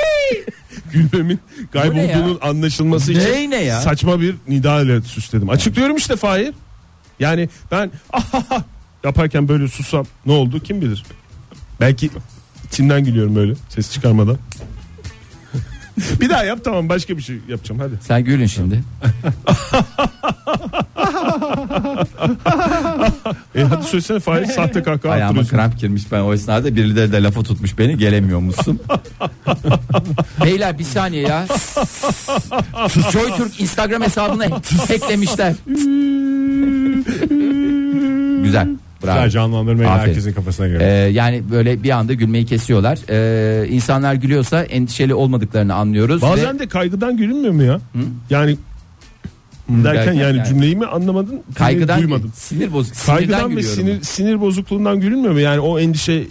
C: gülmemin kaybolduğunun anlaşılması için
D: Ney ne ya?
C: saçma bir nida ile süsledim. Açıklıyorum işte Fahir. Yani ben Ah, yaparken böyle sussam ne oldu kim bilir. Belki içimden gülüyorum böyle ses çıkarmadan. bir daha yap tamam başka bir şey yapacağım hadi.
D: Sen gülün şimdi.
C: E hadi söylesene Fahir sahte kahkaha
D: Ayağıma
C: attırıyorsun.
D: kramp girmiş ben o esnada birileri de lafı tutmuş beni gelemiyormuşsun. Beyler bir saniye ya. Joy Türk Instagram hesabını hacklemişler. Güzel. Bravo.
B: Güzel canlandırmayı
D: Aferin.
B: herkesin kafasına göre.
D: Ee, yani böyle bir anda gülmeyi kesiyorlar. Ee, insanlar gülüyorsa endişeli olmadıklarını anlıyoruz.
C: Bazen
D: ve
C: de kaygıdan gülünmüyor mu ya? Yani derken
D: derken
C: yani,
D: yani.
C: cümleyi mi anlamadın? cümleyi
D: kaygıdan
C: duymadın.
D: sinir bozuk sinirden
C: Kaygıdan ve
D: gülüyorum.
C: sinir, sinir bozukluğundan gülünmüyor mu? Yani o endişe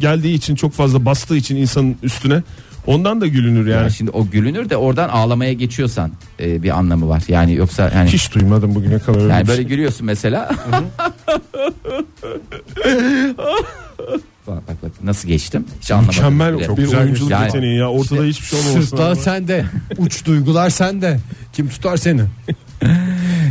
C: geldiği için çok fazla bastığı için insanın üstüne ondan da gülünür yani.
D: Yani şimdi o gülünür de oradan ağlamaya geçiyorsan e, bir anlamı var. Yani yoksa yani
C: Hiç duymadım bugüne kadar. öyle bir
D: Yani
C: şey.
D: böyle gülüyorsun mesela. bak bak bak nasıl geçtim? Hiç anlamadım.
C: mükemmel
D: bile.
C: bir
B: güzel
C: oyunculuk
D: yani.
C: yeteneği ya. Ortada hiçbir şey olmaması
B: Sırtlan
C: lazım.
B: sende. Uç duygular sende. Kim tutar seni?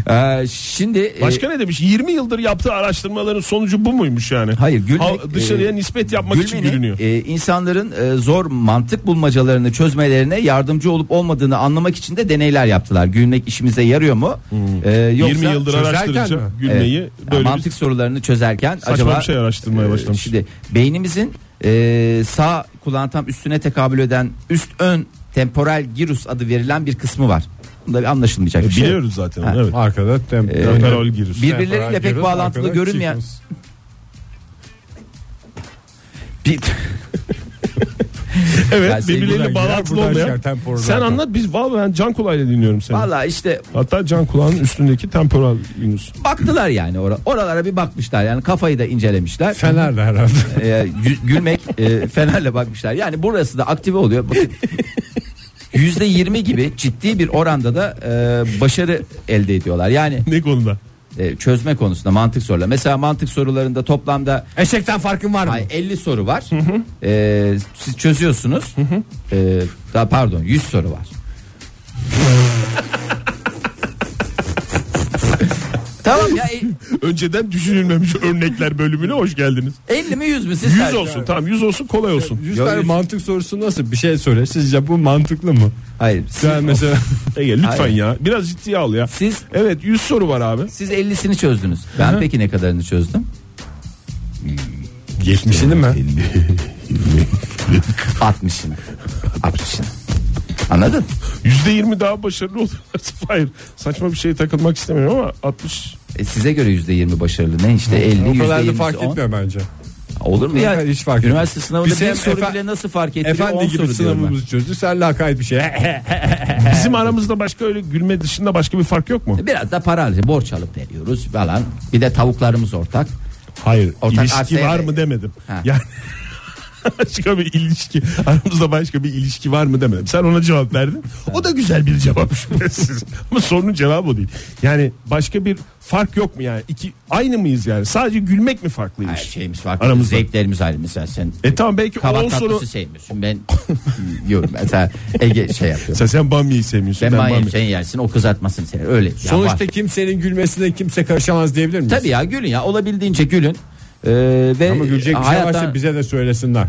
D: Ee, şimdi e,
C: Başka ne demiş? 20 yıldır yaptığı araştırmaların sonucu bu muymuş yani?
D: Hayır, gülmek,
C: Ha- dışarıya
D: e,
C: nispet yapmak için
D: gülmenin,
C: gülünüyor.
D: e, insanların e, zor mantık bulmacalarını çözmelerine yardımcı olup olmadığını anlamak için de deneyler yaptılar. Gülmek işimize yarıyor mu? E, yoksa
C: 20 Hmm. yıldır
B: çözerken
C: araştırınca
B: mi?
C: gülmeyi
D: Evet. Yani
C: böyle
D: mantık sorularını çözerken
C: Saçma
D: acaba
C: bir şey araştırmaya başlamış.
D: Ee, Şimdi beynimizin e, sağ kulağın tam üstüne tekabül eden üst ön temporal girus adı verilen bir kısmı var. Bunda bir anlaşılmayacak
C: bir, e,
D: bir şey. yok.
C: biliyoruz zaten.
D: Ha.
C: onu, Evet.
B: Arkada tem.
C: Temporal giriş.
D: Ee, Birbirleriyle pek
B: Arkada
D: bağlantılı
B: arkada
D: görünmeyen
B: çiftimiz.
D: bir
C: Evet,
D: Yani
B: Buradan
C: birbirleriyle
B: girer,
C: bağlantılı
B: buradan
C: olmayan.
B: çıkar, temporal
C: Sen
B: zaten.
C: anlat biz vallahi ben can kulağıyla dinliyorum seni.
D: Valla işte
C: Hatta can kulağın üstündeki temporal Yunus.
D: baktılar yani ora- oralara bir bakmışlar yani kafayı da incelemişler.
B: Fener de herhalde.
D: E, gü- gülmek e, fenerle bakmışlar. Yani burası da aktive oluyor. Bakın. %20 gibi ciddi bir oranda da e, başarı elde ediyorlar. Yani
C: Ne konuda?
D: e, çözme konusunda mantık soruları. Mesela mantık sorularında toplamda
B: Eşekten farkın var mı?
D: ay, 50 soru var. E, siz çözüyorsunuz. E, daha pardon 100 soru var. tamam ya e,
C: Önceden düşünülmemiş örnekler bölümüne hoş geldiniz.
D: 50 mi 100 mü siz
C: 100
D: tercih-
C: olsun tamam 100 olsun kolay olsun.
B: 100
D: Yok,
B: tane
D: yüz-
B: mantık sorusu nasıl? Bir şey söyle. Sizce bu mantıklı mı?
D: Hayır. Siz,
B: Sen mesela
C: Ege lütfen
D: Hayır.
C: e, ya biraz ciddiye al ya.
D: siz
C: Evet 100 soru var abi.
D: siz 50'sini çözdünüz. Ben peki ne kadarını çözdüm?
B: 70'ini mi?
D: 60'ını. 60'ını. Anladın?
C: %20 daha başarılı olur. Hayır saçma bir şeye takılmak istemiyorum ama 60
D: E, size göre %20 başarılı ne işte 50
B: O kadar da
D: %20'si
B: fark
D: 10.
B: etmiyor bence.
D: Olur mu ya?
B: Hayır, hiç fark etmiyor.
D: Üniversite sınavında
B: Biz
D: bir
B: hem
D: soru
B: efe-
D: bile nasıl fark ettiriyor?
B: Efendi
D: 10
B: gibi
D: soru diyorum
B: sınavımızı çözdü. Sen lakayt bir şey.
C: bizim aramızda başka öyle gülme dışında başka bir fark yok mu?
D: ben. Biraz da para alacağız. Borç alıp veriyoruz falan. Bir de tavuklarımız ortak.
C: Hayır
D: Ortak
C: ilişki
D: ATV.
C: var mı demedim.
D: Ha.
C: Yani başka bir ilişki aramızda başka bir ilişki var mı demedim. Sen ona cevap verdin. O da güzel bir cevap şüphesiz. Ama sorunun cevabı o değil. Yani başka bir fark yok mu yani? İki, aynı mıyız yani? Sadece gülmek mi
D: Her
C: farklıymış?
D: şeyimiz farklı.
C: Aramızda.
D: Zevklerimiz ayrı. Mesela sen
C: E tamam belki
D: kabak
C: 10
D: tatlısı
C: soru
D: sevmiyorsun. Ben yiyorum. Mesela Ege şey yapıyor.
C: Sen, sen bamyayı sevmiyorsun.
D: Ben
C: Ben,
D: mayayım
C: bamya.
D: sen yersin o kızartmasın seni öyle. Ya var.
B: Sonuçta kimsenin gülmesine kimse karışamaz diyebilir miyiz?
D: Tabii ya gülün ya olabildiğince gülün. Ee, ve
B: Ama gülecek bir şey
D: hayattan-
B: varsa bize de söylesinler.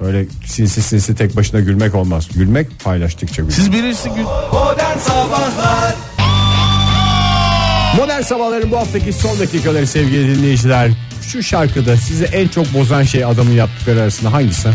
B: Öyle sinsi sinsi tek başına gülmek olmaz. Gülmek paylaştıkça güler.
C: Siz birisi gül...
B: Modern Sabahların bu haftaki son dakikaları sevgili dinleyiciler. Şu şarkıda sizi en çok bozan şey adamın yaptıkları arasında hangisi?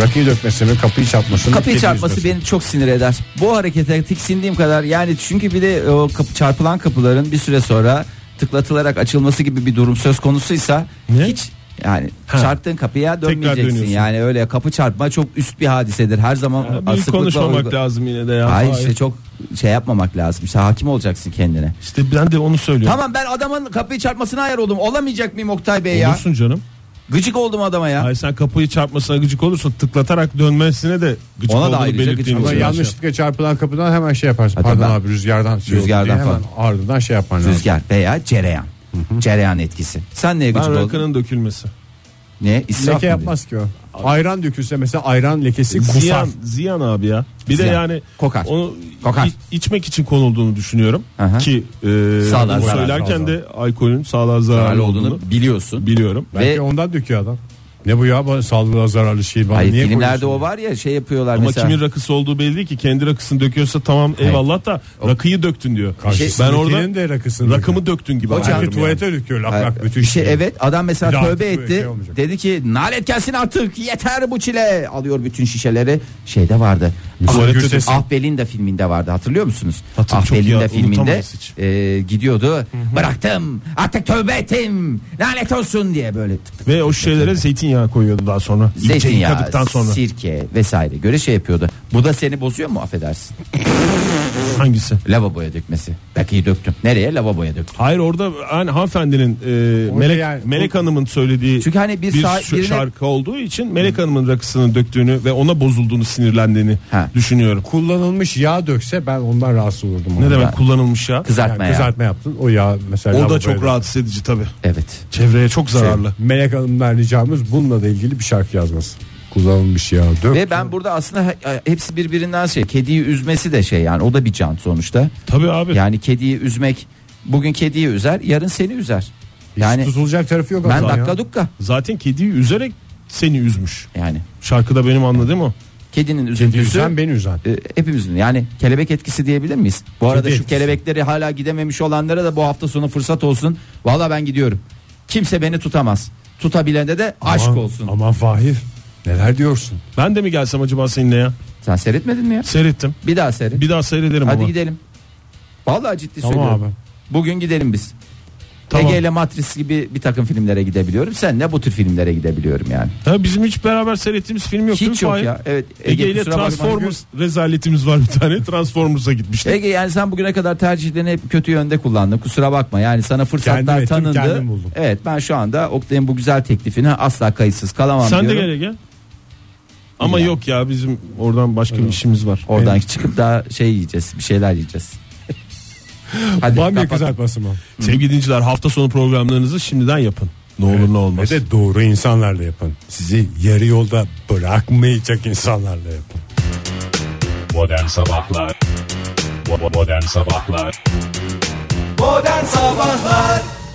B: Rakıyı dökmesi mi, kapıyı çarpması mı?
D: Kapıyı
B: kedi
D: çarpması
B: yüzmesi mi?
D: beni çok sinir eder. Bu harekete tiksindiğim kadar yani çünkü bir de o kapı, çarpılan kapıların bir süre sonra tıklatılarak açılması gibi bir durum söz konusuysa hiç yani çarptığın kapıya dönmeyeceksin.
C: dönüyorsun.
D: Yani öyle kapı çarpma çok üst bir hadisedir. Her zaman
C: Bir
D: asıklıkla
C: konuşmamak
D: uygu-
C: lazım yine de ya.
D: Hayır
C: Hayır.
D: işte çok şey yapmamak lazım. İşte hakim olacaksın kendine.
C: İşte ben de onu söylüyorum.
D: Tamam ben adamın kapıyı çarpmasına ayar oldum. Olamayacak mıyım Oktay Bey ya?
C: Olursun canım.
D: Gıcık oldum adama ya.
C: Hayır sen kapıyı çarpmasına gıcık olursun. Tıklatarak dönmesine de gıcık
D: Ona da
C: olduğunu
D: ayrıca gıcık
C: belirttiğin
B: Ama
C: için.
D: oluyor.
B: yanlışlıkla çarpılan kapıdan hemen şey yaparsın.
D: Hadi
B: Pardon
D: ben-
B: abi rüzgardan. şey oldu
D: Rüzgardan
B: diye hemen Ardından şey yapman lazım.
D: Rüzgar veya cereyan. Cereyan etkisi. Sen neye gıcık
C: Ben
D: oldun?
C: rakının dökülmesi.
D: Ne? İsraf mı
B: Leke
D: diyor?
B: yapmaz ki o. Ayran dökülse mesela ayran lekesi kusar.
C: Ziyan, ziyan abi ya. Bir de
D: Ziyan.
C: yani
D: Kokar.
C: onu
D: Kokar.
C: i- içmek için konulduğunu düşünüyorum
D: Aha.
C: ki e,
D: Sağlığa
C: bunu
D: zararlı
C: söylerken
D: olduğunu.
C: de alkolün sağlığa
D: Zararlı
C: zararlı olduğunu
D: olduğunu biliyorsun.
C: biliyorum.
B: Belki
D: Ve-
B: ondan döküyor adam. Ne bu ya bana sağlığa zararlı şey bana
D: Hayır
B: niye
D: filmlerde
B: koyuyorsun?
D: o var ya şey yapıyorlar
C: Ama
D: mesela.
C: kimin rakısı olduğu belli değil ki. Kendi rakısını döküyorsa tamam
D: Hayır. Şey,
C: eyvallah da rakıyı döktün diyor. ben
B: Karşısındakinin
C: orada
B: de rakısını
C: rakımı döktün gibi.
D: Hocam-
C: anlıyorum
B: Belki
C: yani.
B: tuvalete döküyor lak
D: Hayır,
B: lak bütün
D: bir şey evet adam mesela
B: Bir daha
D: tövbe
B: artık bu
D: etti.
B: şey olmayacak.
D: dedi ki nalet gelsin artık yeter bu çile. Alıyor bütün şişeleri. Şeyde vardı.
C: Tuvalette
D: Ahbelinda
C: desin.
D: Ah Belinda filminde vardı hatırlıyor musunuz?
C: Hatır-
D: ah
C: çok iyi,
D: Belinda filminde
C: unutamayız hiç.
D: e, gidiyordu. Bıraktım artık tövbe ettim. Lanet olsun diye böyle tık tık.
C: Ve o şeylere zeytinyağı koyuyordu daha sonra. İyice
D: Zeytinyağı,
C: yıkadıktan sonra.
D: sirke vesaire göre şey yapıyordu. Bu da seni bozuyor mu affedersin?
C: Hangisi?
D: Lavaboya dökmesi. Rakıyı döktüm. Nereye? Lavaboya döktüm.
C: Hayır orada hani hanımefendinin e,
B: Orada
C: Melek,
B: yani-
C: Melek Hanım'ın söylediği
D: Çünkü hani bir
C: bir
D: sağ-
C: şu-
D: birine-
C: şarkı olduğu için Melek Hanım'ın rakısını döktüğünü ve ona bozulduğunu sinirlendiğini
D: Ha.
C: düşünüyorum.
B: Kullanılmış yağ dökse ben ondan rahatsız olurdum.
C: Ne
B: Yani
C: demek kullanılmış ya?
D: Kızartma ya.
B: kızartma yaptın o yağ mesela.
C: O da
B: lavaboya
C: çok
B: döktün.
C: rahatsız edici tabii.
D: Evet.
C: Çevreye çok
D: Şey-
C: zararlı.
B: Melek Hanım'dan ricamız bununla da ilgili bir şarkı yazması. Kullanılmış yağ dök.
D: Ve ben burada aslında he- hepsi birbirinden şey. Kediyi üzmesi de şey yani o da bir can sonuçta.
C: Tabii abi.
D: Yani kediyi üzmek bugün kediyi üzer, yarın seni üzer. Yani
B: tutulacak tarafı yok.
D: hani ben
B: adam ya.
D: dakika dukka
C: Zaten kediyi üzerek seni üzmüş.
D: yani.
C: Şarkıda benim anladığım o.
D: Kedinin
B: Kedi
D: üzüntüsü
B: üzen beni üzen.
D: e, hepimizin yani kelebek etkisi diyebilir miyiz? Bu arada şu
B: etkisi.
D: kelebekleri hala gidememiş olanlara da bu hafta sonu fırsat olsun. Valla ben gidiyorum. Kimse beni tutamaz. Tutabilende de aşk
B: Aman-
D: olsun.
B: Aman Fahir neler diyorsun?
C: Ben de mi gelsem acaba seninle ya?
D: Sen seyretmedin mi ya?
C: Seyrettim.
D: Bir daha seyret.
C: Bir daha seyrederim
D: Hadi
C: ama.
D: gidelim. Vallahi ciddi
B: Tamam
D: söylüyorum.
B: abi.
D: Bugün gidelim biz.
C: Tamam.
D: Ege ile Matris gibi bir takım filmlere gidebiliyorum. Sen ne bu tür filmlere gidebiliyorum yani.
C: Ha, bizim hiç beraber seyrettiğimiz film yok değil mi
D: Hiç yok
C: Fahir?
D: ya. Evet Ege,
C: Ege ile
D: kusura bakma.
C: Transformers rezaletimiz var bir tane. Transformers'a gitmiştik.
D: Ege yani sen bugüne kadar tercihlerini hep kötü yönde kullandın. Kusura bakma. Yani sana fırsatlar
B: Kendim ettim,
D: tanındı.
B: kendim buldum.
D: Evet ben şu anda Oktay'ın bu güzel teklifine asla kayıtsız kalamam
C: Sen de
D: diyorum.
C: gel Ege. Ama yok ya bizim oradan başka bir işimiz var.
D: Oradan çıkıp daha şey yiyeceğiz. Bir şeyler yiyeceğiz. Hadi
B: Bamya
D: kapat.
B: kızartması mı?
C: Evet. Sevgili dinleyiciler hafta sonu programlarınızı şimdiden yapın. Ne olur ne olmaz.
B: Ve de doğru insanlarla yapın. Sizi yarı yolda bırakmayacak insanlarla yapın.
E: Modern Sabahlar Bo- bo- Modern Sabahlar
F: Modern Sabahlar